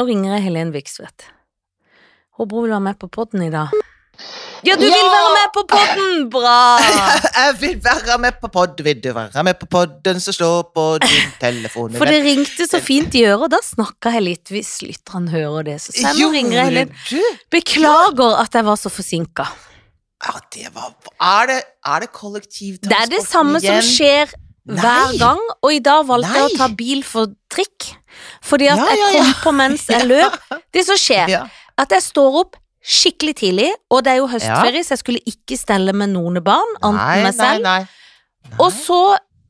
Nå ringer jeg Helen Vikstvedt. Håper hun vil være med på podden i dag. Ja, du Ja! vil være med på podden! Bra! Jeg vil være med på podd, vil du være med på podden som står på din telefon? For det ringte så fint i øret, og da snakka jeg litt hvis lytteren hører det. Så send og ringer jeg Helen. du? Beklager at jeg var så forsinka. Ja, det var Er det, er det kollektivtransport Det er det samme som igjen? skjer hver Nei. gang, og i dag valgte jeg å Nei. ta bil for trikk. Fordi at Ja, ja, jeg ja. kom på mens jeg løp. Det som skjer, Ja. at jeg står opp skikkelig tidlig, og det er jo høstferie, så jeg skulle ikke stelle med noen barn, annet enn meg selv. Nei, nei, nei. Og så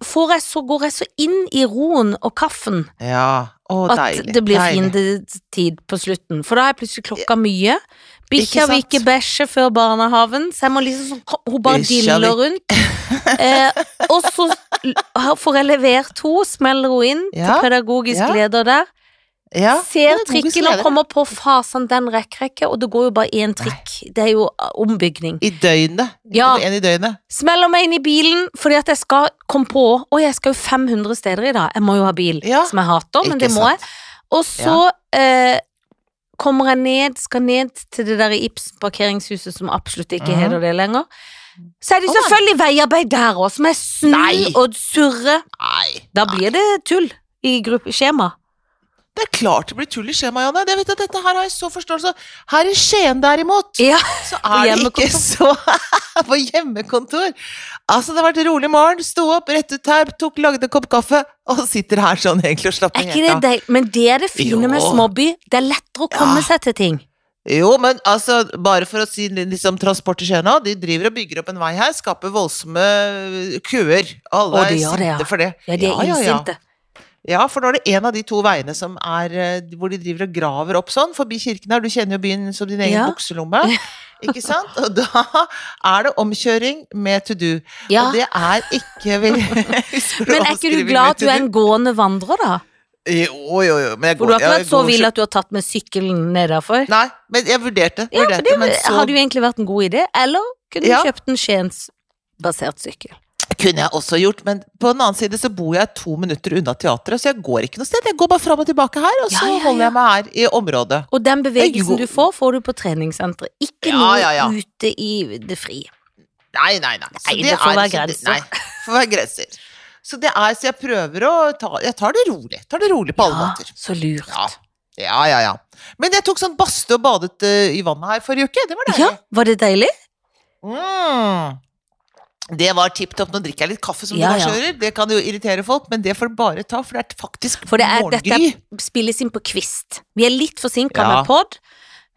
får jeg så går jeg så inn i roen og kaffen ja. Å, at deilig. det blir deilig. fiendetid på slutten. For da har jeg plutselig klokka mye. Bikkja Ikke vil sant? ikke bæsje før barnehaven, så jeg må liksom sånn Hun bare Bikkja vil- diller rundt. Eh, og så l- har- får jeg levert henne, smeller hun inn Ja, til pedagogisk ja. leder der. Ja, det Ser er logisk trikken og leder. kommer på fasen, den rekker jeg ikke, og det går jo bare én trikk. Det er jo eh, ombygning. I døgnet. Ja. En i døgnet. Smeller meg inn i bilen fordi at jeg skal komme på Og jeg skal jo 500 steder i dag. Jeg må jo ha bil, Ja, som jeg hater, men Ikke det må sant? jeg. Og så eh, kommer jeg ned, skal ned til det der Ibsen-parkeringshuset som absolutt ikke Mhm. heter det lenger. Så er det Å, nei. selvfølgelig veiarbeid der òg, som jeg Nei. snur og surrer. Nei. Da blir det tull i gruppeskjema. Det er klart det blir tull i skjemaet, Janne. Jeg vet at dette her har jeg så forståelse av. Her i Skien, derimot, Ja, så er det ikke så På hjemmekontor. Altså, det har vært rolig morgen. Sto opp, rett ut her, tok, lagde en kopp kaffe, og sitter her sånn egentlig og er slapper ikke det deilig? Men det er det fine med Jo. småby. Det er lettere å komme Ja. seg til ting. Jo, men altså, bare for å si li- liksom transport i Skien nå, de driver og bygger opp en vei her, skaper voldsomme ø, køer. Alle Å, de er gjør det, ja. sinte for det. Ja, de er ja, ja. illsinte. Ja, for nå er det en av de to veiene som er eh, hvor de driver og graver opp sånn, forbi kirken her. Du kjenner jo byen som din egen Ja. bukselomme. Ikke sant? Og da er det omkjøring med to do. Ja. Og det er ikke vel Husker Men er ikke du omskriving glad med at du er to do? en gående vandrer, da? Jo, jo, jo. Men jeg For du har går- ikke jeg vært så går vill ikke- at du har tatt med sykkelen nedafor? Nei, men jeg vurderte. Ja, for vurderte, det men så hadde jo egentlig vært en god idé. Eller kunne du Ja. kjøpt en Skiens-basert sykkel? kunne jeg også gjort. Men på den annen side så bor jeg to minutter unna teatret, så jeg går ikke noe sted. Jeg går bare fram og tilbake her, og Ja, så ja, holder ja. jeg meg her i området. Og den bevegelsen Jo. du får, får du på treningssenteret. Ikke Ja, noe ja, ja. ute i det fri. Nei, nei, nei. Så Nei, det får er- være så det- grenser. Nei, det får være grenser. Så det er, så jeg prøver å ta Jeg tar det rolig. Tar det rolig på alle Ja, måter. så lurt. Ja. Ja, ja, ja. Men jeg tok sånn badstue og badet eh, i vannet her forrige uke. Det var Ja, deilig. var det deilig? Mm. Det var tipp topp. Nå drikker jeg litt kaffe som Ja, du ja. kanskje hører. Det kan jo irritere folk, men det får du bare ta, for det er faktisk For det er, dette morgengry. spilles inn på kvist. Vi er litt forsinka Ja. med pod,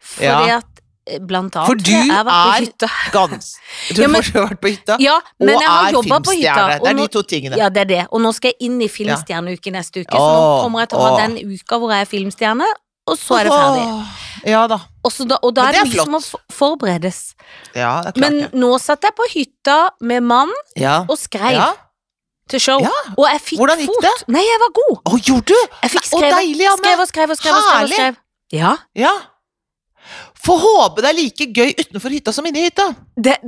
fordi Ja. at eh, Blant annet For du jeg har vært er- på hytta. Gans. Du Ja, har men- fortsatt vært på hytta. Ja, men og jeg har er jobba på hytta. filmstjerne. og Det er nå- de to tingene. Ja, det er det. Og nå skal jeg inn i Filmstjerneuke neste uke, så nå Åh, kommer jeg til å ha åh. den uka hvor jeg er filmstjerne, og så er det ferdig. Åh, Ja da. Og, så da, og da Men er det det mye er som må for- forberedes. Ja, det er klart. Men nå satt jeg på hytta med mann ja. og skrev ja. til show, Ja. og jeg fikk Hvordan gikk fot. det? Nei, jeg var god. Å, gjorde du? Jeg fikk Nei, å, skrevet, deilig, Anne. skrev og skrev og skrev. Og skrev, og Herlig. skrev. Ja, Ja. Få håpe det er like gøy utenfor hytta som inni hytta. det,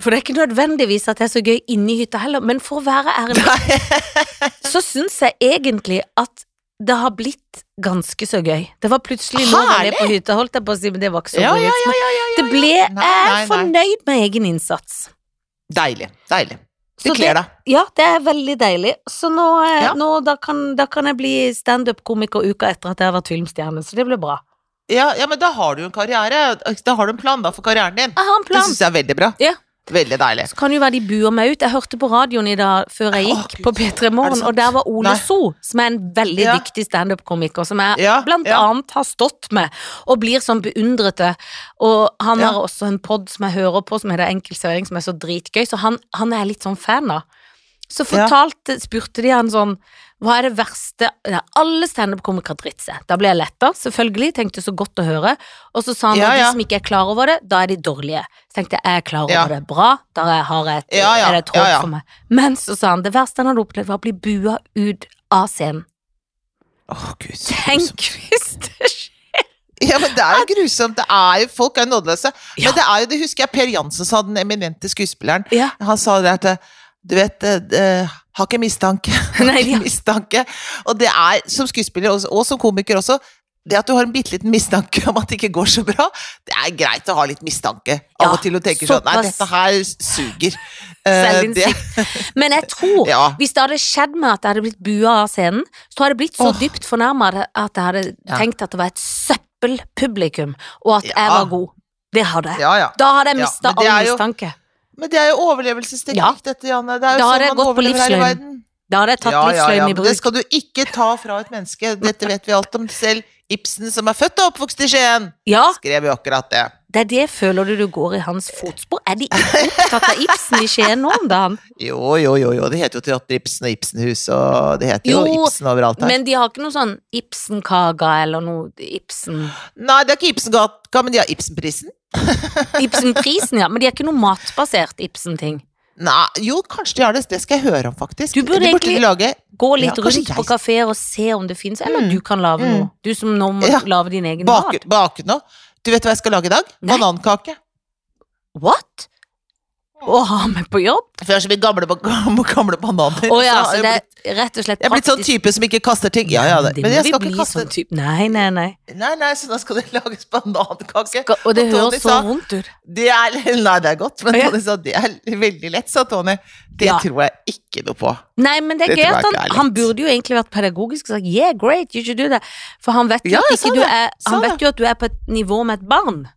for det er ikke nødvendigvis at det er så gøy inni hytta heller, men for å være ærlig, Nei. så syns jeg egentlig at det har blitt ganske så gøy. Det var plutselig nå var jeg på hytta, holdt jeg på å si, men det var ikke så Ja, gøy. ja, ja, ja, ja. Det ble Nei, Jeg nei, er fornøyd med egen innsats. Deilig. Deilig. Så Det kler deg. Ja, det er veldig deilig. Så nå, eh, Ja. nå da, kan, da kan jeg bli standup-komiker uka etter at jeg har vært filmstjerne, så det blir bra. Ja, ja, men da har du jo en karriere. Da har du en plan da for karrieren din. Jeg har en Det plan. syns jeg er veldig bra. Ja. Veldig deilig. Så kan jo være de buer meg ut. Jeg hørte på radioen i dag før jeg Å, gikk, Gud. på P3 Morgen, sant? og der var Ole Nei. So, som er en veldig Ja. dyktig standup-komiker, som jeg Ja, blant ja. annet har stått med, og blir sånn beundrete. Og han Ja. har også en pod som jeg hører på, som heter Enkel servering, som er så dritgøy, så han, han er jeg litt sånn fan av. Så Ja. fortalte, spurte de han sånn Hva er det verste ja, Alle standup-komikere dritter seg. Da ble jeg letta, selvfølgelig. Tenkte så godt å høre. Og så sa han Ja, at de ja. som ikke er klar over det, da er de dårlige. Så tenkte jeg, jeg er klar over Ja. det. Bra. Da er- har jeg et Ja, ja, er det et håp ja, ja. for meg. Men så sa han det verste han hadde opplevd, var å bli bua ut av scenen. Å, gud. så grusomt. Tenk hvis det skjer! Ja, men det er jo grusomt. Det er jo, folk er nådeløse. Ja. Men det er jo, det husker jeg Per Jansen sa, den eminente skuespilleren. Ja. Han sa det at du vet, eh, eh, har ikke mistanke. Nei, Ikke ja. mistanke. Og det er, som skuespiller også, og som komiker også, det at du har en bitte liten mistanke om at det ikke går så bra, det er greit å ha litt mistanke av Ja, og til og tenke sånn Nei, såpass. dette her suger. Eh, det, Selvinnsikt. Men jeg tror, Ja. hvis det hadde skjedd meg at jeg hadde blitt bua av scenen, så hadde jeg blitt så Åh. dypt fornærma at jeg hadde Ja. tenkt at det var et søppelpublikum, og at jeg Ja. var god. Det hadde jeg. ja, ja. Da hadde jeg Ja, mista men det all er jo- mistanke. Men det er jo overlevelsesteknikk, Ja. dette, Janne. Det er jo Da har sånn jeg man gått på overlever her i livsløgn. verden. Da hadde jeg tatt livsløgn i men bruk. Det skal du ikke ta fra et menneske. Dette vet vi alt om. Selv Ibsen, som er født og oppvokst i Skien, Ja, skrev jo akkurat det. det er det føler du du går i hans fotspor. Er de ikke opptatt av Ibsen i Skien nå om dagen? Jo, jo, jo, jo. Det heter jo Teater Ibsen og Ibsenhus, og det heter jo, Jo, Ibsen overalt her. Men de har ikke noe sånn Ibsen-kaga eller noe Ibsen Nei, det er ikke Ibsengata, men de har Ibsenprisen. Ibsen-prisen, ja, men de er ikke noe matbasert Ibsen-ting. Nei, jo, kanskje de har det. Det skal jeg høre om, faktisk. Du burde det egentlig- lage Gå litt Ja, kanskje rundt på jeg- kafeer og se om det fins, eller Mm. du kan lage Mm. noe. Du som nå må Ja. lage din egen bake, mat. bake nå. Du vet hva jeg skal lage i dag? Nei. Banankake. What? Å ha med på jobb? For jeg har så mye gamle, gamle, gamle bananer. Å ja, har så jeg det blitt- er rett og slett jeg er blitt sånn type som ikke kaster ting. Ja, ja, det. Det Men må jeg vi skal ikke bli kaste sånn type. Nei, nei, nei. Nei, nei, så da skal det lages banankake. Skal- Og det Og Tony høres så sa- vondt ut. Det er, nei, det er godt, men Å, ja. Tony sa det er veldig lett, sa Tony. Det Ja. tror jeg ikke noe på. Nei, men det er Det gøy tror jeg at han, ikke er lett. han burde jo egentlig vært pedagogisk og sagt yeah, great, you should do that. For han vet jo, Ja, at, jeg sa ikke du det. er, Sa han det. vet jo at du er på et nivå med et barn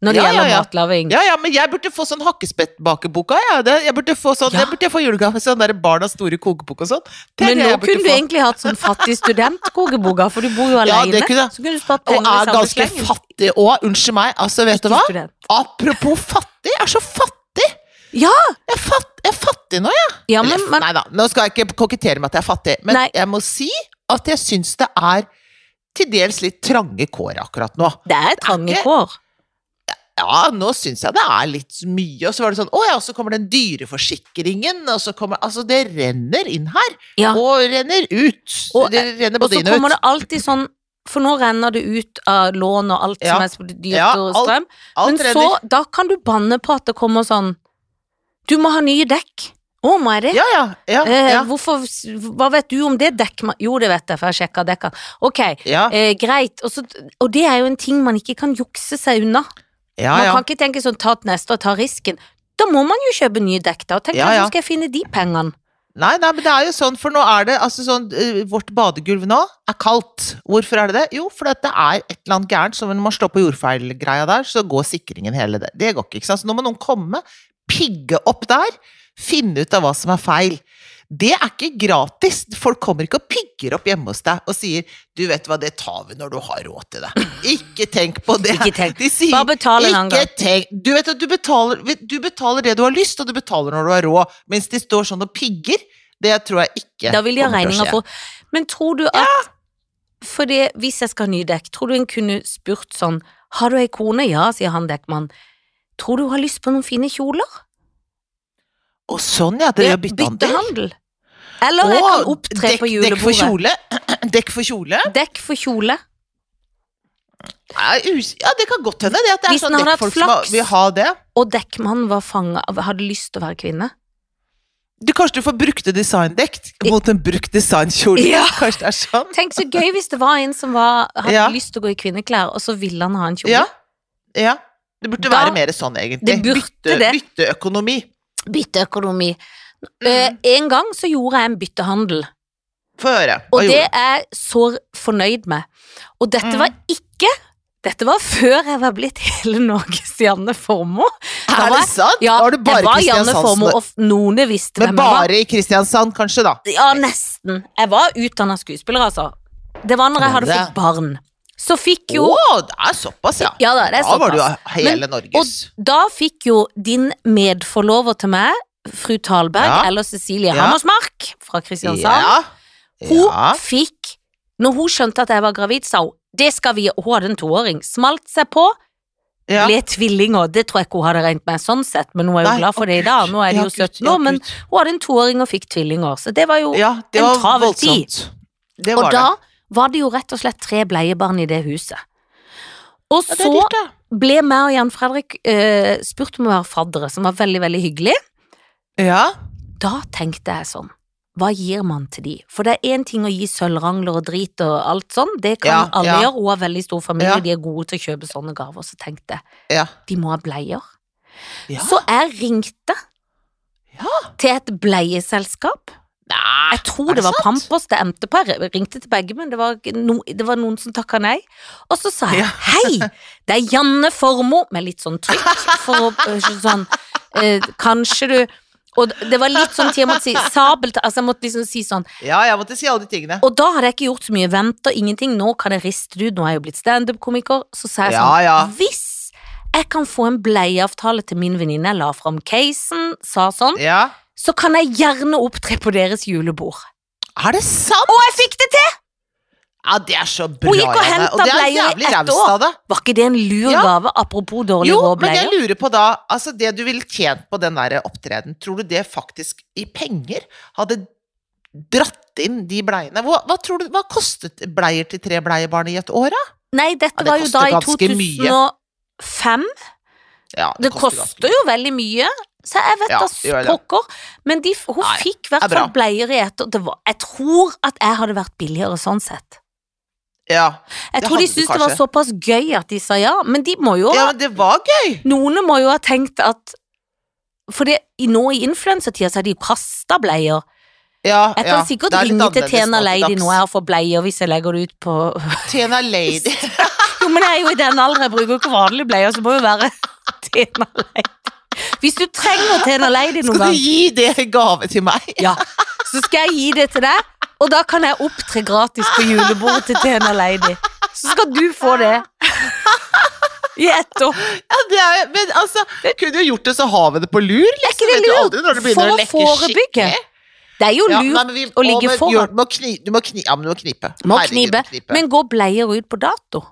når det Ja, ja, gjelder ja. matlaging. Ja, ja, men jeg burde få sånn hakkespettbakeboka, ja. Det, jeg burde få sånn, Ja. jeg burde få julegave, sånn der barna store kokebok og sånn. Det er Men det nå jeg burde kunne du få. egentlig hatt sånn fattig studentkogebok, for du bor jo Ja, alene. det kunne jeg. så kunne du spart Og penger i er samme ganske slengen. fattig òg, unnskyld meg. Altså, vet du Ikke hva? student. Apropos fattig, jeg er så fattig! Ja! Jeg er, fatt, jeg er fattig nå, jeg. Ja, Eller, men, men Nei da, nå skal jeg ikke kokettere med at jeg er fattig, men Nei. jeg må si at jeg syns det er til dels litt trange kår akkurat nå. det er trange ikke- kår. Ja, nå syns jeg det er litt mye, og så var det sånn, å ja, så kommer den dyreforsikringen, og så kommer Altså, det renner inn her, Ja. og renner ut. Og- eh, det renner Og både så inn og kommer ut. det alltid sånn For nå renner det ut av lån og alt Ja. som er så dyrt Ja, og alt- strøm. Men Alt så, renner. da kan du banne på at det kommer sånn Du må ha nye dekk. Å, må jeg det? Ja, ja, ja. Eh, ja, hvorfor, hva vet du om det dekkma... Jo, det vet jeg, for jeg sjekka dekka. Ok, ja, eh, greit. Og, så, og det er jo en ting man ikke kan jukse seg unna. ja, Man ja. kan ikke tenke sånn ta den neste og ta risken. Da må man jo kjøpe nye dekk, da. Og tenk, Ja, hvordan ja. skal jeg finne de pengene? Nei, nei, men det er jo sånn, for nå er det altså sånn eh, Vårt badegulv nå er kaldt. Hvorfor er det det? Jo, fordi at det er et eller annet gærent. Så når man slår på jordfeilgreia der, så går sikringen hele det. Det går ikke, ikke sant. Så nå må noen komme, pigge opp der, finne ut av hva som er feil. Det er ikke gratis. Folk kommer ikke og pigger opp hjemme hos deg og sier 'du vet hva, det tar vi når du har råd til det'. Ikke tenk på det. Ikke tenk. De sier Bare betal en annen ikke gang. tenk Du vet at du betaler, du betaler det du har lyst, og du betaler når du har råd, mens de står sånn og pigger. Det tror jeg ikke Da vil de ha kommer til å regninga skje. på. Men tror du at Fordi hvis jeg skal ha nye dekk, tror du en kunne spurt sånn Har du ei kone? Ja, sier han dekkmannen. Tror du hun har lyst på noen fine kjoler? Å, sånn, ja. Dere Ja, gjør byttehandel. byttehandel. Eller jeg kan Å, opptre på Dekk for julebordet. kjole. Dekk for kjole. Dekk for kjole. Nei, us- Ja, det kan godt hende det at det Hvis er sånn den hadde hatt dekkfolk som har- flaks. vil ha det. Og dekkmannen var fanga Hadde lyst til å være kvinne. Du, kanskje du får brukte designdekk mot en brukt designkjole. Ja. Kanskje det er sånn? Tenk så gøy hvis det var en som var, hadde Ja. lyst til å gå i kvinneklær, og så ville han ha en kjole. Ja. ja. Det Da- burde være mer sånn, egentlig. Det burde bytte, det. Bytteøkonomi. Bytteøkonomi. Mm. Eh, en gang så gjorde jeg en byttehandel. Få høre. Og Hva det gjorde du? er jeg så fornøyd med. Og dette Mm. var ikke Dette var før jeg var blitt hele Norges Janne Formoe. da Er var det jeg- sant? Ja, var det bare jeg var Janne Kristiansand som- Formoe, og f- noen visste Men hvem jeg var. bare i Kristiansand, kanskje, da. Ja, nesten. Jeg var utdanna skuespiller, altså. Det var når jeg hadde Det- fått barn. Så fikk jo Å, det er såpass, ja. Ja da, det er Da var du såpass. hele Norges. Da fikk jo din medforlover til meg, fru Talberg, Ja. eller Cecilie Ja. Hammersmark fra Kristiansand, Ja. Hun Ja. fikk Når hun skjønte at jeg var gravid, sa hun det skal vi, og hun hadde en toåring. Smalt seg på, Ja. ble tvillinger. Det tror jeg ikke hun hadde regnet med sånn sett, men hun er jo Nei, glad for det i dag. Nå er de Ja, jo Gud, 17 år, ja, men Gud. hun hadde en toåring og fikk tvillinger, så det var jo Ja, det en var travel tid. voldsomt. Det Og var da det. var det jo rett og slett tre bleiebarn i det huset. Og Ja, det så er dyrt, da. ble meg og Jan Fredrik eh, spurt om å være faddere, som var veldig, veldig hyggelig. Ja. Da tenkte jeg sånn hva gir man til de? For det er én ting å gi sølvrangler og drit og alt sånn, det kan Ja, alle ja. gjøre, hun har veldig stor familie, Ja. de er gode til å kjøpe sånne gaver, så tenkte jeg, Ja. de må ha bleier. Ja. Så jeg ringte til et bleieselskap. Nei. Jeg tror det er det var sant? Pampers det endte på. Jeg ringte til begge, men det var, ikke no, det var noen som takka nei. Og så sa jeg Ja. hei, det er Janne Formoe, med litt sånn trykk, for å øh, sånn øh, Kanskje du Og det var litt sånn til jeg måtte si sabelt, altså jeg måtte liksom si sånn. Ja, jeg måtte si alle de tingene. Og da hadde jeg ikke gjort så mye, venter ingenting, nå kan jeg riste det ut, nå er jeg jo blitt standup-komiker. Så sa jeg sånn Ja, ja. Hvis jeg kan få en bleieavtale til min venninne, jeg la fram casen, sa sånn, Ja. så kan jeg gjerne opptre på deres julebord. Er det sant?! Og jeg fikk det til! Ja, det er så bra, Hun gikk og Janne. hentet det er bleier i jævlig ett raust år. av deg. Var ikke det en lur Ja. gave, apropos dårlig Jo, rå men jeg bleier? lurer på da Altså, det du ville tjent på den der opptreden, tror du det faktisk i penger hadde dratt inn de bleiene? Hva, hva tror du Hva kostet bleier til tre bleiebarn i et år, da? Nei, dette Ja, det var jo da i koster ganske mye. 2005. Ja, Det koster ganske koster jo veldig mye, så jeg vet Ja, da det gjør det. pokker. Men de, hun Nei, fikk i hvert det er fall bra. bleier i ett år. Det var- Jeg tror at jeg hadde vært billigere sånn sett. mye. Ja. Jeg Det tror de hadde du syntes det var kanskje. såpass gøy at de sa ja, men de må jo ja, men det var gøy! Noen må jo ha tenkt at For det, i- nå i influensatida så har de jo kasta bleier. Ja, Jeg ja. kan sikkert Det er litt ringe til annerledes Tena nå til Lady dags. nå jeg får bleier hvis jeg legger det ut på Tena Lady. Jo, men jeg er jo i den alderen, jeg bruker jo ikke vanlige bleier, så må jo være Tena Lady. Hvis du trenger Tena Lady noen Skal du gang, gi det i gave til meg? ja, så skal jeg gi det til deg, og da kan jeg opptre gratis på julebordet til Tena Lady. Så skal du få det. I ett år. Ja, det er, jo- men altså, kunne jo gjort det, så har vi det på lur, liksom. ikke det Vet du lurt? aldri når det begynner For å å lekke forebygge. skikkelig. Det er jo Ja, lurt nei, men vi- å ligge men foran. gjør- Du må, kni, du må kni, ja, men du må knipe. Må Herregud, du knipe, men går bleier ut på dato?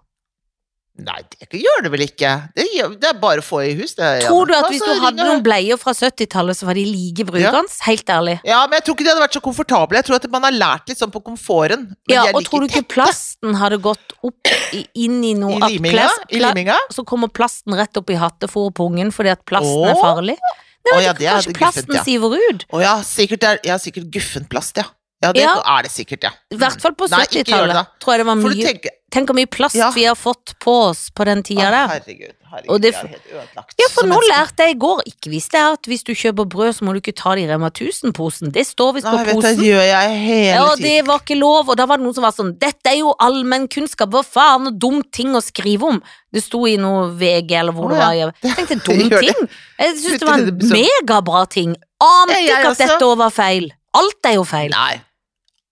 Nei, det gjør det vel ikke. Det, gjør, det er bare å få i hus. Det, Janne. Tror du at Ta, hvis så du hadde ringer- noen bleier fra 70-tallet, så var de like brukende? Helt ærlig. Ja, men jeg tror ikke de hadde vært så komfortable. Jeg tror at man har lært litt sånn på komforten. Men Ja, de er og like tror du ikke tette plasten hadde gått opp i, inn i noe i at liminga? plast- I pla- liminga? Så kommer plasten rett opp i hattefôret på ungen fordi at plasten er Åh. farlig? Å Nei, ja, vet det du, er kanskje plasten guffent, ja. siver ut? Å ja, sikkert, det er, ja, sikkert guffent plast, ja. Ja, det Ja. er det sikkert, ja. Mm. I hvert fall på Nei, ikke gjør det da. 70-tallet. Tror jeg det var For du mye tenker Tenk hvor mye plast Ja. vi har fått på oss på den tida Å, der. Herregud, herregud, Og det- jeg er helt ødelagt. Ja, for som nå menneske. lærte jeg i går, ikke visste jeg at hvis du kjøper brød, så må du ikke ta det i Rema 1000-posen. Det står visst Nei, på vet du, posen. det gjør jeg hele Ja, og tiden. det var ikke lov, og da var det noen som var sånn Dette er jo allmennkunnskap, hva faen, og dum ting å skrive om. Det sto i noe VG eller hvor Å, det ja. var. Jeg tenkte dum Gjør det. ting. Jeg syntes det var Putter en det som- megabra ting. Ante Ja, jeg ikke at også. dette òg var feil. Alt er jo feil. Nei,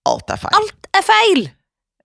alt er feil. Alt er feil.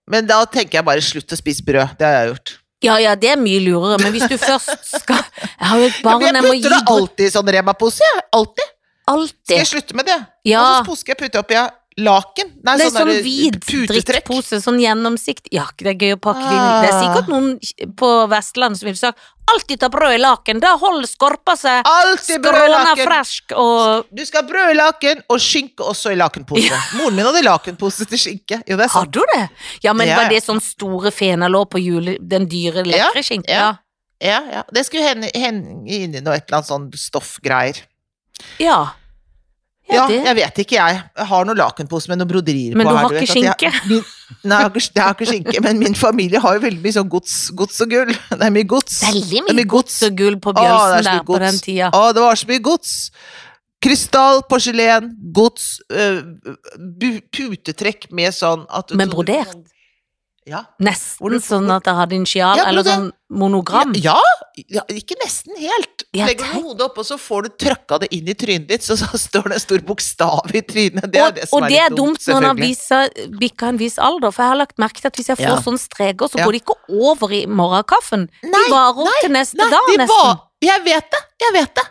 Men da tenker jeg bare slutt å spise brød. Det har jeg gjort. Ja ja, det er mye lurere, men hvis du først skal Jeg har jo et Ja, barn, men jeg jeg må gi putter det dro- alltid i sånn Rema-pose. jeg. Alltid. Skal alltid. jeg slutte med det? Ja. Og så pose skal jeg putte oppi ja, laken. Nei, Det er sånn der, eh, hvit putetrekk. drittpose, sånn gjennomsikt Ja, ikke det er gøy å pakke Ah. det inn i. Det er sikkert noen på Vestlandet som ville sagt alltid ta brød i laken, da holder skorpa seg Alltid brød i skråna laken. fersk og Du skal ha brød i laken, og skinke også i lakenpose. Moren min hadde lakenpose til skinke. Jo, det er sant. Hadde du det? Ja, men Ja, var ja. det sånn store fenalår på jule, den dyre, Ja, lekre skinka? ja. Ja, ja. Det skulle hende, hende inni noe et eller annet sånn stoffgreier. Ja. Ja, det. jeg vet ikke, jeg. Jeg har noen lakenpose med noen broderier Men på du her. har ikke vet at jeg- min- Nei, jeg har ikke, jeg har ikke skinke, men min familie har jo veldig mye sånn gods, gods og gull. Det er mye gods. Veldig Det er mye mye gods. så gull på Å, det er så Bjølsen mye der på den gods. tida. Å, det var så mye gods. Krystall, porselen, gods, øh, bu- putetrekk med sånn at Men brodert? Ja. Hvor Nesten du- sånn at jeg hadde en sjial, Ja, eller brodert. sånn monogram. Ja, ja, ikke nesten helt. Ja, Legger du tenk. hodet opp, og så får du trøkka det inn i trynet ditt, så, så står det en stor bokstav i trynet. Det er og, det som og det er litt dumt når en har selvfølgelig. visa- bikka en viss alder, for jeg har lagt merke til at hvis jeg får Ja. sånne streker, så Ja. går de ikke over i morgenkaffen. Nei, de varer opp til neste Nei, dag, de nesten. var- Jeg vet det, jeg vet det.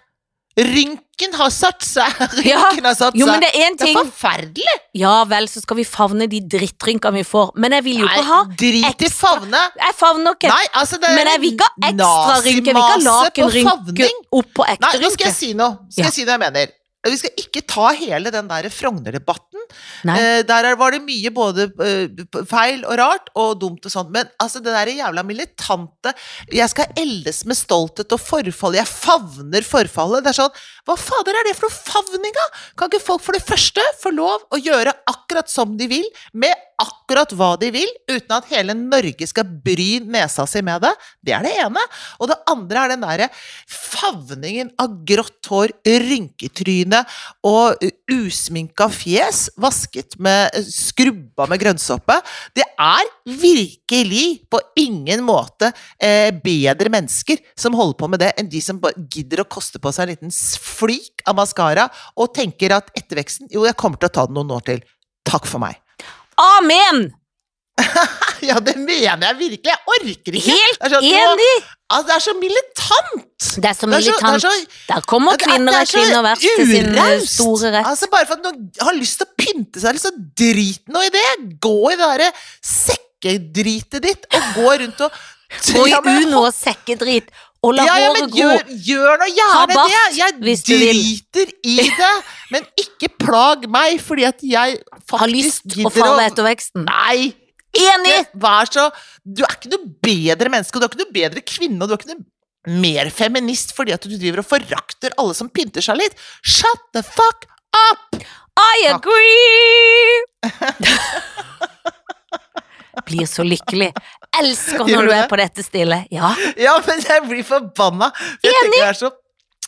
Rynken har satt seg. Rynken Ja, har satt Jo, men seg. det er én Det er ting. forferdelig. Ja vel, så skal vi favne de drittrynkene vi får, men jeg vil jo ikke ha Nei, drit i ekstra- favne. Jeg favner ikke. Nei, altså det er Men jeg vil ikke ha ekstra rynker, jeg vil ikke ha nazimase på lakenrynke favning. oppå Nei, ekte nå skal rynke. jeg si noe. Ja. Skal jeg si det jeg mener. Vi skal ikke ta hele den der Frogner-debatten. Nei. Eh, der er- var det mye både eh, feil og rart og dumt og sånt. Men altså, det der jævla militante 'Jeg skal eldes med stolthet og forfall', 'jeg favner forfallet'. Det er sånn Hva fader er det for noe favning, da? Kan ikke folk for det første få lov å gjøre akkurat som de vil, med akkurat hva de vil, uten at hele Norge skal bry nesa si med det? Det er det ene. Og det andre er den derre favningen av grått hår, rynketryne, og eh, usminka fjes vasket med eh, skrubba med grønnsåpe. Det er virkelig på ingen måte eh, bedre mennesker som holder på med det, enn de som bare gidder å koste på seg en liten s- flik av maskara og tenker at etterveksten Jo, jeg kommer til å ta det noen år til. Takk for meg. Amen! Ja, det mener jeg virkelig. Jeg orker ikke. Helt Det er sånn, nå- Enig! Altså, det er så militant! Det er så Det er så- det er militant. så Der kommer Det er- kvinner det er så kvinner verst til sin eh, uraust. store rett. Altså Bare for at noen har lyst til å pynte seg, eller så drit nå i det! Gå i det derre sekkedritet ditt, og gå rundt og Gå i Ja, men- Uno og sekkedrit, og la ja, ja, men håret gå. gjør, gjør nå Ha gjerne bart, det! Jeg hvis du vil. driter i det, men ikke plag meg, fordi at jeg faktisk Har lyst å gidder falle etter veksten. Nei! Enig! ikke vær så Du er ikke noe bedre menneske, og du er ikke noe bedre kvinne, og du er ikke noe mer feminist fordi at du driver og forakter alle som pynter seg litt. Shut the fuck up! I agree! Blir så lykkelig. Elsker Gjør når du du er det? på dette stille. Ja. Ja, men jeg blir forbanna. for Jeg tenker det er så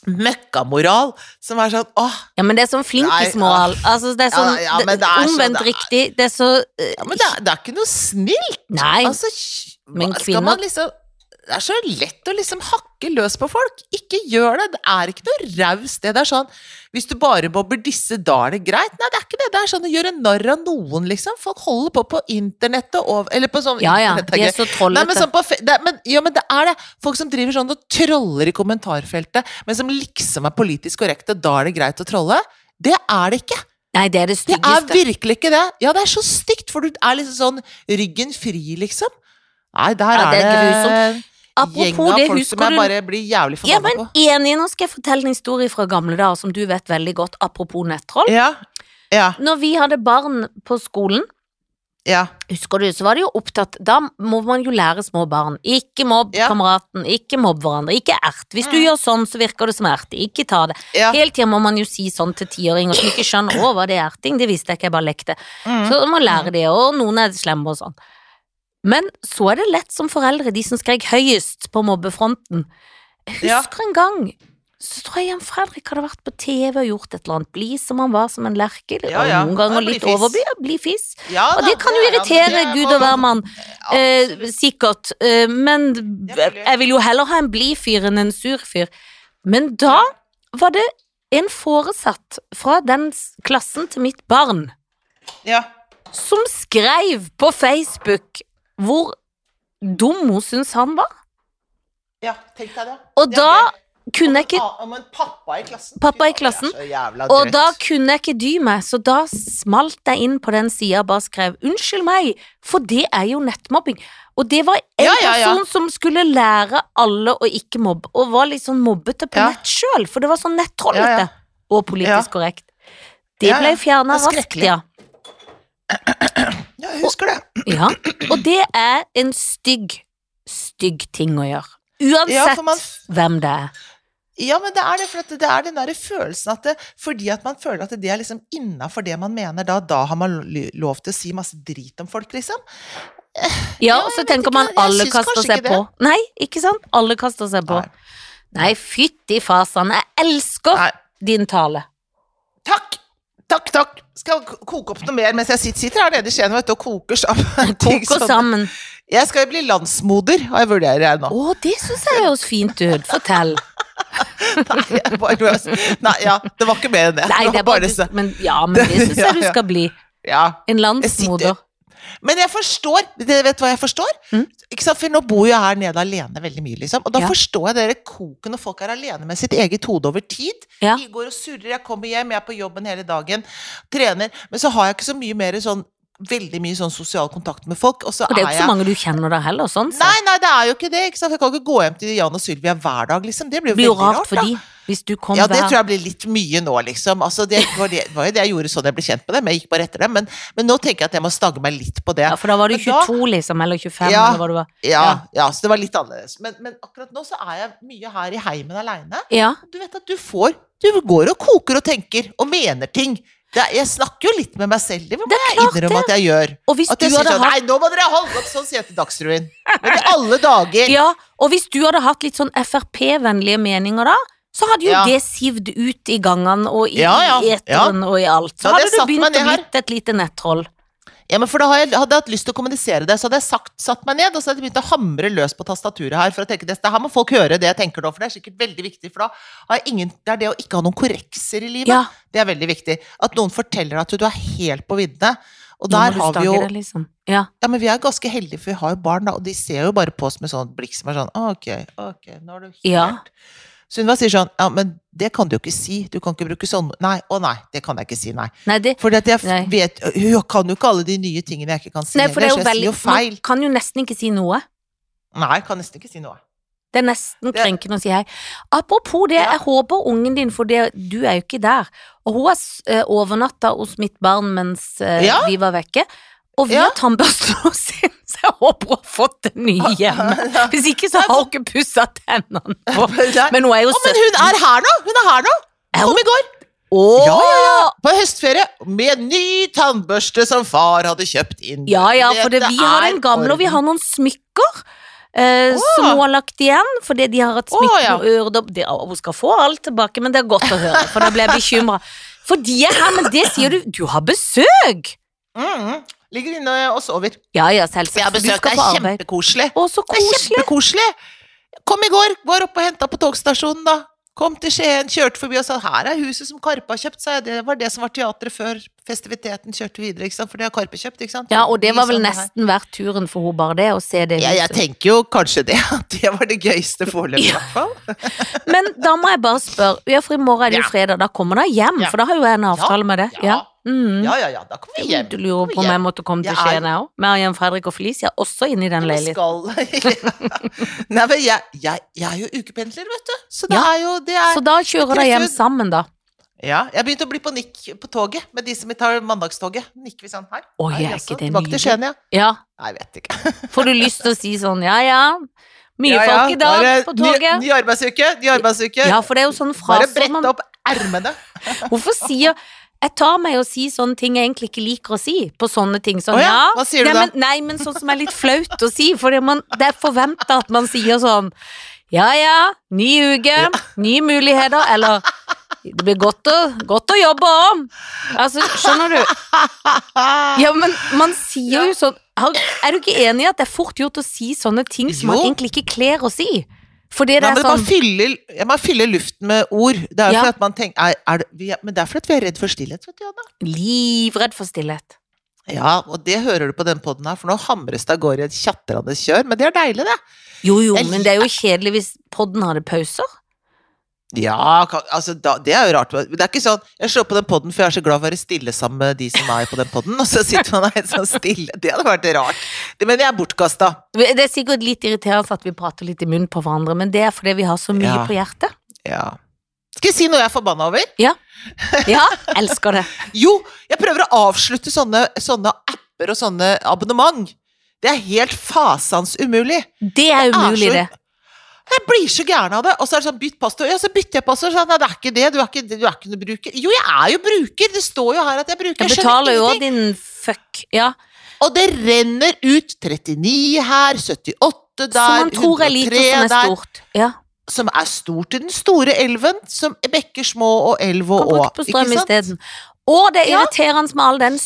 møkkamoral som er sånn åh, ja, men det er sånn flinkismoral. Altså, det er ah. Ja, sånn ja, men det- det er så- omvendt det er- riktig. Det er så eh, ja, men det er, det er ikke noe snilt. Nei. Altså, hj- Men hva- kvinner- Skal man liksom det er så lett å liksom hakke løs på folk. Ikke gjør det. Det er ikke noe raust. Det Det er sånn Hvis du bare mobber disse, da er det greit. Nei, det er ikke det. Det er sånn å gjøre narr av noen, liksom. Folk holder på på internettet og Eller på sånn Ja, ja. internett er De gøy. er så Nei, men, trollete. sånn på, fe- det, er- men, ja, men det er det. Folk som driver sånn og troller i kommentarfeltet, men som liksom er politisk korrekte, da er det greit å trolle. Det er det ikke. Nei, det er det Det er styggeste. virkelig ikke det. Ja, det er så stygt, for du er liksom sånn ryggen fri, liksom. Nei, der Ja, er det er det en gjeng Apropos av det, folk som husker jeg du bare blir jævlig Ja, forbanna men på. enig, nå skal jeg fortelle en historie fra gamle dager som du vet veldig godt, apropos nettroll. Ja, ja, Når vi hadde barn på skolen, ja. husker du, så var det jo opptatt Da må man jo lære små barn. Ikke mobb Ja. kameraten, ikke mobb hverandre, ikke ert. Hvis du Mm. gjør sånn, så virker det som erte. Ikke ta det. ja. Hele tida må man jo si sånn til tiåringer som ikke skjønner 'Å, var det erting?' Det visste jeg ikke, jeg bare lekte. Mm. Så man lærer det, og noen er slemme og sånn. Men så er det lett som foreldre, de som skrek høyest på mobbefronten. Jeg Ja. husker en gang, så tror jeg Jan Fredrik hadde vært på TV og gjort et eller annet. Bli som han var, som en lerke. Ja, og ja. Noen ganger Ja, bli litt fiss. overby, bli fiss. ja Og da, det kan jo er han. irritere Det er gud bare- og hvermann, eh, sikkert. Eh, men Selvfølgelig. jeg vil jo heller ha en blid fyr enn en sur fyr. Men da var det en foresatt fra den s- klassen til mitt barn Ja. som skrev på Facebook hvor dum hun syns han var. ja, tenk deg det. Og Det er da gøy. kunne jeg ikke Om en- Om en pappa i klassen. Pappa Fy i faen, klassen. Det er så jævla Og drøyt. da kunne jeg ikke dy meg, så da smalt jeg inn på den sida og bare skrev 'unnskyld meg', for det er jo nettmobbing. Og det var en Ja, ja, ja. person som skulle lære alle å ikke mobbe, og var litt sånn mobbete på Ja. nett sjøl, for det var sånn nettrollete Ja, ja. og politisk Ja. korrekt. Det Ja, ja. ble fjerna Det er raskt, skrekkelig. ja. Ja, jeg husker det. ja. Og det er en stygg, stygg ting å gjøre. Ja, Uansett for man hvem det er. Ja, men det er det, for at det er den der følelsen at det, fordi at man føler at det er liksom innafor det man mener, da, da har man lo- lov til å si masse drit om folk, liksom. Ja, Ja, og jeg så vet tenker ikke, man jeg alle syns kaster kanskje seg ikke på. Nei, ikke sant? Alle kaster seg på. Nei. Nei, fytti fasan, jeg elsker Nei. din tale. Takk! Takk, takk! Skal k- koke opp noe mer mens jeg sitter, sitter her nede i Skien vet du, og koker sammen. ting Koker sånn. sammen. Jeg skal jo bli landsmoder, og jeg vurderer jeg nå. Å, det syns jeg høres fint ut. Fortell. Nei, jeg bare, nei, ja, det var ikke mer enn det. Nei, det er bare så- men, Ja, men det syns Ja, jeg du ja. skal bli. Ja. En Jeg landsmoder. Men jeg forstår, det vet du hva jeg forstår? Mm. Ikke sant? For nå bor jeg her nede alene veldig mye, liksom. Og da Ja. forstår jeg dere koken når folk er alene med sitt eget hode over tid. Ja. De går og surrer, jeg kommer hjem, jeg er på jobben hele dagen, trener. Men så har jeg ikke så mye mer sånn, veldig mye sånn sosial kontakt med folk, og så Og det er jo er ikke så jeg mange du kjenner der heller, sånn sett. Nei, nei, det er jo ikke det. Ikke sant? Jeg kan ikke gå hjem til Jan og Sylvia hver dag, liksom. Det blir Det jo blir jo veldig rart for da. de. Hvis du kom Ja, det hver tror jeg blir litt mye nå, liksom. Altså, det var, det, var jo det jeg gjorde sånn jeg ble kjent med dem. Jeg gikk bare etter dem. Men, men nå tenker jeg at jeg må stagge meg litt på det. ja, For da var du Men da- 22, liksom, eller 25, Ja. eller hva du var. Ja, ja, så det var litt annerledes. Men, men akkurat nå så er jeg mye her i heimen aleine. Ja. Du vet at du får Du går og koker og tenker og mener ting. Det, er- jeg snakker jo litt med meg selv, det må jeg innrømme at jeg gjør. Og hvis At du jeg sier hadde sånn hatt Nei, nå må dere holde opp! Sånn sier jeg til Dagsrevyen. Men i alle dager! Ja, og hvis du hadde hatt litt sånn Frp-vennlige meninger da, så hadde jo Ja. det sivd ut i gangene og i Ja, ja, i eteren og i alt. Så Da hadde hadde jeg du satt meg begynt å ned her. blitt et lite nettroll. Ja, men for da har jeg, hadde jeg hatt lyst til å kommunisere det, så hadde jeg sagt, satt meg ned og så hadde jeg begynt å hamre løs på tastaturet her. for å tenke, det, det her må folk høre det jeg tenker nå, for det er sikkert veldig viktig. For da har jeg ingen, det er det å ikke ha noen korrekser i livet. Ja, Det er veldig viktig. At noen forteller at du, du er helt på viddene. Og nå må du der har vi stagge jo det, liksom. Ja. ja, men vi er ganske heldige, for vi har jo barn, da, og de ser jo bare på oss med sånn blikk som er sånn Ok, ok, nå er du helt Ja. Sunniva sier sånn Ja, men det kan du jo ikke si. Du kan ikke bruke sånn Nei, å nei, det kan jeg ikke si, nei. Nei, det, Fordi at jeg Nei. vet Hun kan jo ikke alle de nye tingene jeg ikke kan si nei, for det er jo heller, så jeg sier veldig jo feil. Man kan jo nesten ikke si noe. Nei, jeg kan nesten ikke si noe. Det er nesten Det- krenkende å si hei. Apropos det, Ja. jeg håper ungen din, for det, du er jo ikke der. Og hun har s- eh, overnatta hos mitt barn mens eh, Ja. vi var vekke. Og vi Ja. har tannbørsten hos henne, så jeg håper hun har fått den nye Ah, hjemme. Hvis ikke så har hun ikke pussa tennene på. Nei. Men hun er jo Å, men 17. hun er her nå! Hun er her nå! Er hun? Kom i går! Åh! Ja, ja, ja! På høstferie med en ny tannbørste som far hadde kjøpt inn. Ja, ja, for det, Dette vi har er den gamle, og vi har orden. noen smykker. eh, Åh. Som hun har lagt igjen, fordi de har hatt smykker Åh, ja. og øredobb det- og Hun skal få alt tilbake, men det er godt å høre, for da ble jeg bekymra. For de er her, men det sier du Du har besøk! Mm, ligger inne og sover. Ja ja, Jeg selvsagt. har for Du besøkt skal deg. på arbeid. Kjempekoselig. Å, så Det er koselig. kjempekoselig! Kom i går, var oppe og henta på togstasjonen, da. Kom til Skien, kjørte forbi og sa her er huset som Karpe har kjøpt, sa jeg. Det var det som var teatret før festiviteten kjørte videre, ikke sant. For det har Karpe kjøpt, ikke sant. Ja, og det var vel Sånn her. nesten verdt turen for hun bare det, å se det Ja, jeg huset. tenker jo kanskje det. At det var det gøyeste foreløpig, i hvert fall. Men da må jeg bare spørre, ja, for i morgen er det jo Ja. fredag, da kommer hun hjem, Ja. for da har jo jeg en avtale med det. ja. Ja. Mm. Ja, ja, ja, da kommer vi hjem. Du lurer på om jeg måtte komme til Jeg er- Skien, jeg òg. Mariann, Fredrik og Felicia er også inne i den Jeg leiligheten. skal Nei, men jeg, jeg, jeg er jo ukependler, vet du. Så det Ja. er jo det er Så da kjører de hjem Krefeld. sammen, da. Ja, jeg begynte å bli på nikk på toget med de som tar mandagstoget. Nikker vi sånn her? Oi, Nei, er jaså, ikke det Tilbake til nydelig? Skien, ja. Ja. Nei, jeg vet ikke. Får du lyst til å si sånn ja ja, mye Ja, ja, folk i dag bare på toget? Ny, ny arbeidsuke, ny arbeidsuke. Ja, for det er jo sånn Bare fraser brett man opp ermene. Hvorfor sier Jeg tar meg i å si sånne ting jeg egentlig ikke liker å si, på sånne ting. Sånn Å ja, ja. hva sier nei, du da? men, nei, men sånn som er litt flaut å si, for det, man, det er forventa at man sier sånn ja ja, ny uke, nye muligheter, eller det blir godt å, godt å jobbe om. Altså, skjønner du? Ja, men man sier jo sånn har- Er du ikke enig i at det er fort gjort å si sånne ting som man Jo. egentlig ikke kler å si? Fordi det Nei, er men man, sånn fyller, ja, man fyller luften med ord. Det er jo Ja. fordi at man tenker er, er, det- vi, er- Men det er fordi at vi er redd for stillhet, vet du, Anna. livredd for stillhet. Ja, og det hører du på den podden her, for nå hamres det av gårde i et tjatrende kjør. Men det er deilig, det. Jo jo, Jeg men det er jo kjedelig hvis podden hadde pauser. Ja, kan, altså, da, det er jo rart. men Det er ikke sånn Jeg slår på den podden, for jeg er så glad for å være stille sammen med de som er på den podden, og så sitter man helt sånn stille. Det hadde vært rart. Det mener jeg er bortkasta. Det er sikkert litt irriterende at vi prater litt i munnen på hverandre, men det er fordi vi har så mye Ja. på hjertet. Ja. Skal jeg si noe jeg er forbanna over? Ja, elsker det. Jo, jeg prøver å avslutte sånne, sånne apper og sånne abonnement. Det er helt fasans umulig. Det er umulig, så- det. Jeg blir så gæren av det. Og så er det sånn, bytt passord. Ja, så bytter jeg passord. Sånn, nei, det er ikke det. Du er ikke, du er ikke noen bruker. Jo, jeg er jo bruker. Det står jo her at jeg bruker. Jeg skjønner betaler jo ingenting. òg din fuck. Ja. Og det renner ut 39 her, 78 der, Som man tror er lite, som er der. stort. Ja. Som er stort i den store elven, som bekker små og elv Kan og å. bruke på strøm isteden. Og det er Ja. irriterende med all den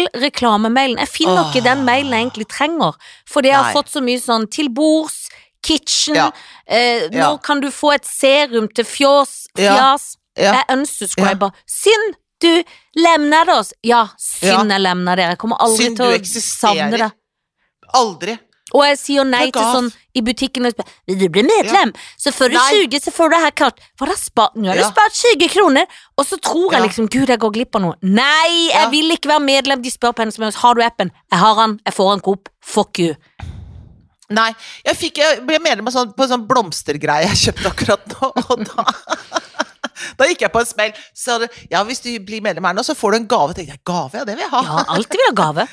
søppelreklamemailen. Jeg finner ikke Åh. den mailen jeg egentlig trenger, for jeg har Nei. fått så mye sånn til bords, kitchen, Ja. eh, nå Ja. kan du få et serum til fjås, Ja. fjas. Ja. Jeg unsubscriber. Synd du lemner det oss! Ja, synd jeg lemner dere. Jeg kommer aldri Synd til du å savne det. eksisterer. Aldri. Og jeg sier nei Takk til av. sånn i butikken og spør, Vil du bli medlem? Så får du Nei. 20, så får du her kart. For da spar, nå har du Ja. spart 20 kroner, og så tror jeg Ja. liksom Gud, jeg går glipp av noe. Nei, jeg Ja. vil ikke være medlem. De spør på henne som helst har du appen. Jeg har den. Jeg får en Coop. Fuck you. Nei, jeg, fikk, jeg ble medlem av sånn, på en sånn blomstergreie jeg kjøpte akkurat nå, og da Da gikk jeg på en smell. Så det, ja, hvis du blir medlem her nå, så får du en gave. Tenkte jeg, gave, ja, det vil jeg ha. Ja, alltid vil ha gave.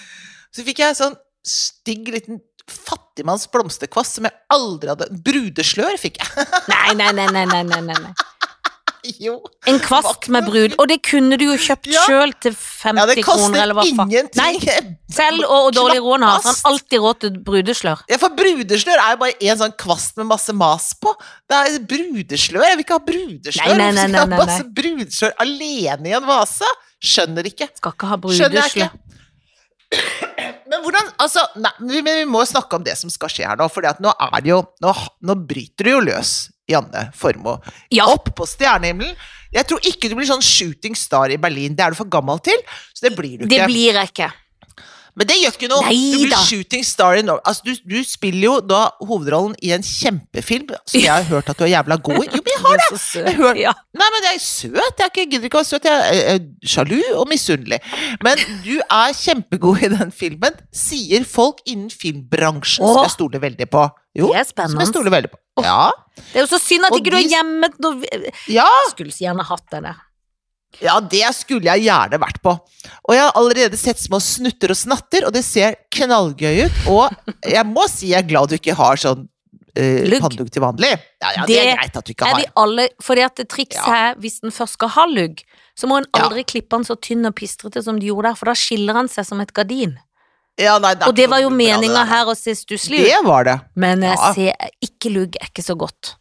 Så fikk jeg sånn stygg liten fattigmanns blomsterkvast som jeg aldri hadde Brudeslør fikk jeg. Nei, nei, nei, nei, nei, nei, nei. Jo. En kvast med brud, og det kunne du jo kjøpt Ja. selv til Ja, det 50 kroner, koster eller hva faen. ingenting. Selv og, og dårlig råd har han Knappast. alltid råd til brudeslør. Ja, for brudeslør er jo bare en sånn kvast med masse mas på. Det er brudeslør. Jeg vil ikke ha brudeslør. Nei, nei, nei, Hvorfor skal jeg nei, ha nei, masse brudeslør alene i en vase? Skjønner ikke. Skal ikke ha Skjønner jeg brudeslør. ikke. Men hvordan Altså, nei, vi, men vi må snakke om det som skal skje her nå, for nå er det jo Nå, nå bryter det jo løs, Janne Formoe. Ja. Opp på stjernehimmelen. Jeg tror ikke du blir sånn shooting star i Berlin. Det er du for gammel til, så det blir du Det ikke. blir jeg ikke. Men det gjør ikke noe. du blir Neida. shooting star i Norway. Altså, du, du spiller jo da hovedrollen i en kjempefilm som jeg har hørt at du er jævla god i. Jo, men jeg har det! Så søt. Jeg hører- Ja. Nei, men jeg er søt. Jeg er ikke- gidder ikke å være søt. Jeg er eh, sjalu og misunnelig. Men du er kjempegod i den filmen, sier folk innen filmbransjen, som Åh. jeg stoler veldig på. Jo, Det er som jeg spennende. stoler veldig på. Ja, Det er jo så synd at Og ikke du de- er hjemme når vi- ja, Skulle så gjerne hatt deg der. ja, det skulle jeg gjerne vært på. Og jeg har allerede sett små snutter og snatter, og det ser knallgøy ut. Og jeg må si jeg er glad du ikke har sånn uh, Lugg. pannelugg til vanlig. Ja, ja, det, er Det greit at du ikke Er har. vi alle, fordi at det trikset Ja. her, hvis den først skal ha lugg, så må en Ja. aldri klippe den så tynn og pistrete som de gjorde der, for da skiller han seg som et gardin. Ja, nei, er Og det ikke var noe jo lugg med det meninga der. her å se stusslig ut, Det var det. men eh, Ja. se, ikke lugg er ikke så godt.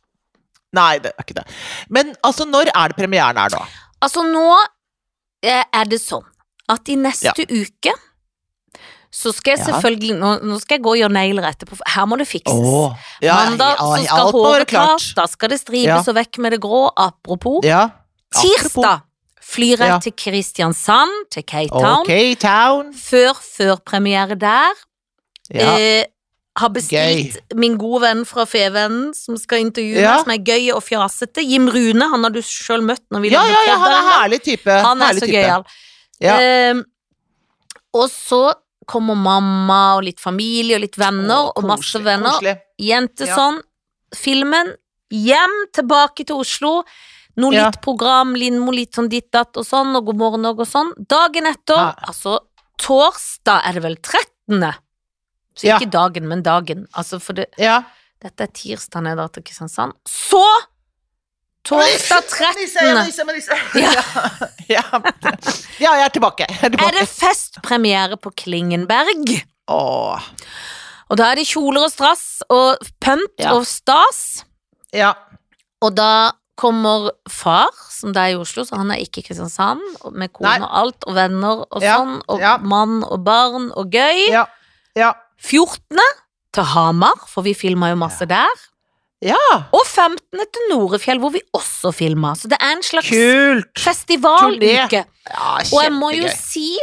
Nei, det er ikke det. Men altså, når er det premieren er nå? Altså nå eh, er det sånn at i neste uke så skal jeg Ja. selvfølgelig nå, nå skal jeg gå og gjøre negler etterpå, for her må det fikses. Åh, ja, Mandag ja, så ja, skal alt må være håret klart. klart, da skal det Ja. stripes og vekk med det grå, apropos. Ja. Tirsdag flyr jeg Ja. til Kristiansand, til Cape Town. Ok, town. Før førpremiere der. Ja. Eh, har bestilt min gode venn fra Fevennen, som skal intervjue meg, Ja. som er gøy og fjasete. Jim Rune, han har du sjøl møtt når vi ja, lagde ja, ja, han podder er en gang. herlig type. Han er herlig så type. gøyal. Ja. Ehm, og så kommer mamma og litt familie og litt venner, Åh, og masse koselig, venner. koselig. Jenteson, filmen, hjem, tilbake til Oslo. Noe Ja. litt program, Lindmo litt sånn ditt datt og sånn, og God morgen og, og sånn. Dagen etter, Ja. altså torsdag er det vel 13. Så Ja. ikke dagen, men dagen. Altså for det, Ja. dette er tirsdag når jeg drar til Kristiansand. Så! Torsdag 13. Nisse, nisse, Ja. Ja. ja. ja, jeg er tilbake. Jeg er er tilbake. det festpremiere på Klingenberg. Åh. Og da er det kjoler og strass og pynt Ja. og stas. Ja. Og da kommer far, som da er i Oslo, så han er ikke i Kristiansand, og med kone Nei. og alt, og venner og Ja, sånn, og ja. mann og barn og gøy. Ja. Ja. 14. til Hamar, for vi filma jo masse der. ja. Og 15. til Norefjell, hvor vi også filma. Så det er en slags Kult. festivaluke. Ja, Og jeg må jo kjempegøy. si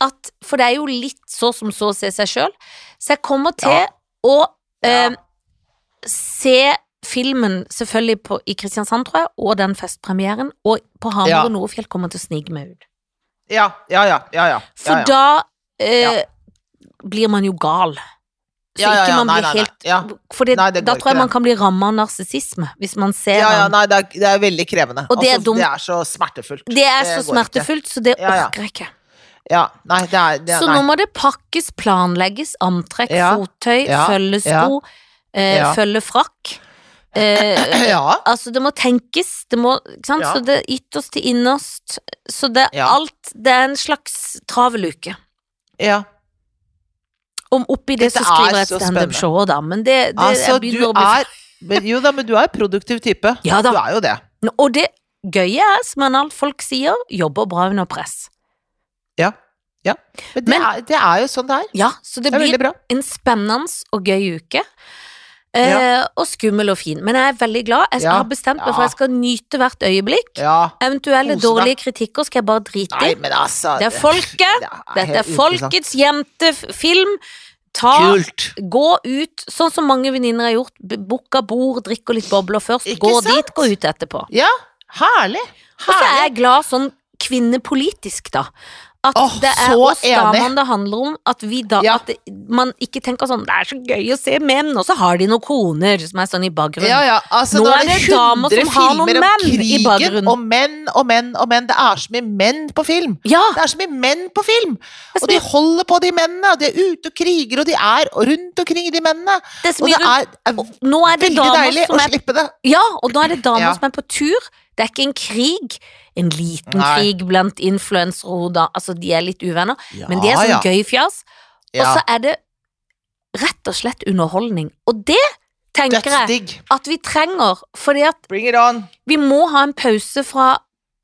at For det er jo litt så som så å se seg sjøl, så jeg kommer til Ja. å Ja. eh, se filmen selvfølgelig på, i Kristiansand, tror jeg, og den festpremieren, og på Hamar Ja. og Nordfjell kommer til å snike meg ut. Ja, ja, ja. ja, ja. For ja, ja. da eh, blir man jo gal. Så ja, ja, ikke ja. man Nei, blir nei, nei. helt ja. For det, Nei, det da går tror ikke, jeg man det. kan bli ramma av narsissisme, hvis man ser ja, ja, den. nei, det er, det er veldig krevende. Altså, Og det er dumt. Det er så smertefullt. Det er så går ikke. smertefullt, så det Ja, ja. orker jeg ikke. Ja, nei, det er, det er Så nå nei. må det pakkes, planlegges, antrekk, Ja, fottøy, ja, følgesko, eh, ja. følgefrakk. Eh, Ja, altså, det må tenkes, det må ikke sant? Ja. Så det er ytterst til innerst. Så det er Ja. alt Det er en slags travel uke. ja. Om oppi det Dette så skriver er jeg et så spennende. standup-show òg, da, men det, det jeg Altså, du begynner å bli er men, Jo da, men du er en produktiv type. Ja da. Du er jo det. Og det gøye er, som en alt folk sier, jobber bra under press. Men det, Men- er, det er jo sånn det er. Ja, så det Det er blir veldig bra. en spennende og gøy uke. Eh, og skummel og fin. Men jeg er veldig glad. Jeg Ja. har bestemt meg Ja. for at jeg skal nyte hvert øyeblikk. Ja. Eventuelle Kose deg. dårlige kritikker skal jeg bare drite Nei, i. men altså Det er folket. det er Dette helt er uinteressant. folkets jentefilm. Ta, Kult. Gå ut, sånn som mange venninner har gjort. b- Booka bord, drikker litt bobler først. Ikke Går sant? dit, går ut etterpå. Ja, herlig. Og så er Herlig. jeg glad sånn kvinnepolitisk, da. At Åh, det er så oss damene enig. det handler om. At, vi da, Ja. at det, man ikke tenker sånn Det er så gøy å se menn, og så har de noen koner som er sånn i bakgrunnen. Ja, ja, altså, Nå nå, er er det det damer 100 som har noen filmer om menn i krigen, bakgrunnen. og menn og menn og menn. Det er så mye menn på film! Ja, altså, Det er så mye menn på film! Det er så Og de holder på, de mennene. og De er ute og kriger, og de er rundt omkring, de mennene. det er så Og mye det rundt. er, er Nå er det veldig damer deilig som å er slippe det. Ja, og nå er det damer Ja. som er på tur. Det er ikke en krig. En liten Nei. krig blant influensere og da Altså, de er litt uvenner, men de er sånn Ja, gøy fjas. ja. Og så er det rett og slett underholdning. Og det tenker jeg Dødsdigg. at vi trenger, fordi at Bring it on. vi må ha en pause fra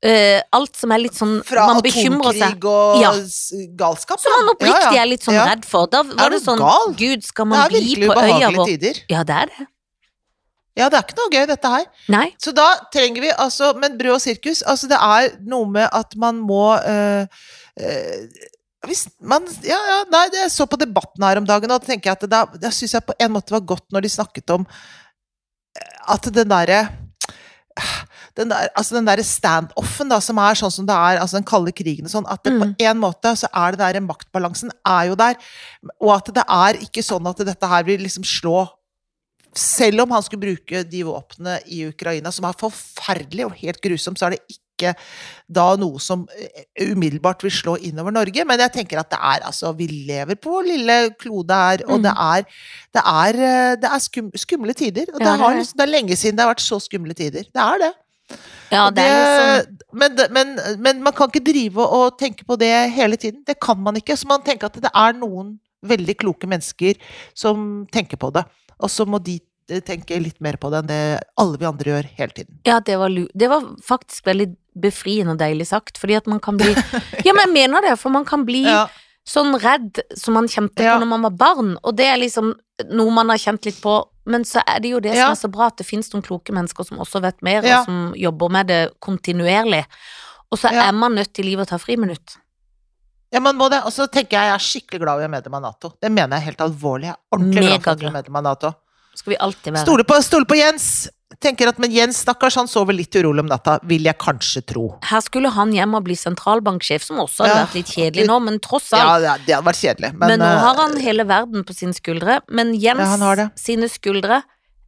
eh, alt som er litt sånn Fra Man bekymrer seg. atomkrig og Ja. s- galskap. Som ja. man oppriktig er litt sånn Ja. redd for. Da var Er det du sånn gal? Gud, skal Det man er bli virkelig på øya ubehagelige vår? tider. Ja, det er det. Ja, det er ikke noe gøy, dette her. Nei. Så da trenger vi altså Men brød og sirkus, altså det er noe med at man må eh, eh, hvis man, ja, ja, nei, det- Jeg så på Debatten her om dagen, og da tenker jeg at det da, da syns jeg på en måte var godt når de snakket om eh, at den derre den der, altså den der standoffen da, som er sånn som det er, altså den kalde krigen og sånn, at det Mm. på en måte så er det der maktbalansen er jo der, og at det er ikke sånn at dette her vil liksom slå Selv om han skulle bruke de våpnene i Ukraina, som er forferdelig og helt grusomt, så er det ikke da noe som eh, umiddelbart vil slå innover Norge. Men jeg tenker at det er altså Vi lever på vår lille klode her, og Mm. det er, det er, eh, det er skum, skumle tider. Og Ja, det det, er har det. liksom, det er lenge siden det har vært så skumle tider. Det er det. Ja, Og det er liksom det- men, det- men, men man kan ikke drive og tenke på det hele tiden. Det kan man ikke. Så man tenker at det er noen veldig kloke mennesker som tenker på det. Og så må de eh, tenke litt mer på det enn det alle vi andre gjør hele tiden. Ja, det var, lu det var faktisk veldig befriende og deilig sagt, fordi at man kan bli Ja, men jeg mener det, for man kan bli sånn redd som man kjente Ja. på når man var barn, og det er liksom noe man har kjent litt på, men så er det jo det Ja. som er så bra, at det finnes noen kloke mennesker som også vet mer, Ja. og som jobber med det kontinuerlig, og så Ja. er man nødt til livet å ta friminutt. Ja, man må det. Og så tenker jeg jeg er skikkelig glad vi er medlem av Nato. Det mener jeg helt alvorlig. Jeg er ordentlig glad for at vi er Megaglad. medlem av Nato. Skal vi alltid være Stole på, stole på Jens! Tenker at, Men Jens, stakkars, han sover litt urolig om natta, vil jeg kanskje tro. Her skulle han hjem og bli sentralbanksjef, som også hadde Ja. vært litt kjedelig nå, men tross alt. Ja, det det hadde vært kjedelig, men, Men, nå eh, har han hele verden på sine skuldre, men Jens Ja, han har det. sine skuldre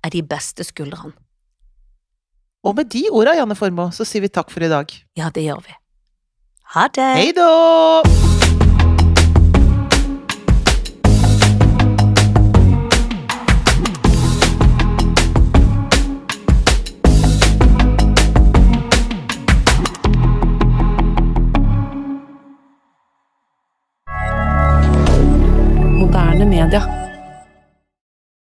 er de beste skuldrene. Og med de orda, Janne Formoe, så sier vi takk for i dag. Ja, det gjør vi. Ha det! Hei da!